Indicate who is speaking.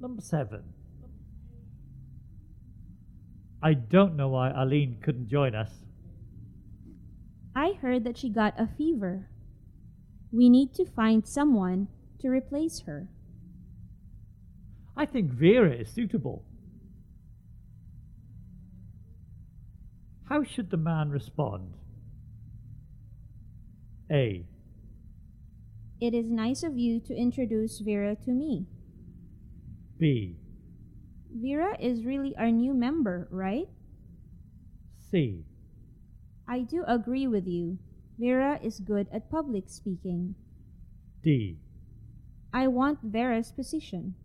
Speaker 1: Number seven. I don't know why Aline couldn't join us.
Speaker 2: I heard that she got a fever. We need to find someone to replace her.
Speaker 1: I think Vera is suitable. How should the man respond? A.
Speaker 2: It is nice of you to introduce Vera to me.
Speaker 1: B.
Speaker 2: Vera is really our new member, right?
Speaker 1: C.
Speaker 2: I do agree with you. Vera is good at public speaking.
Speaker 1: D.
Speaker 2: I want Vera's position.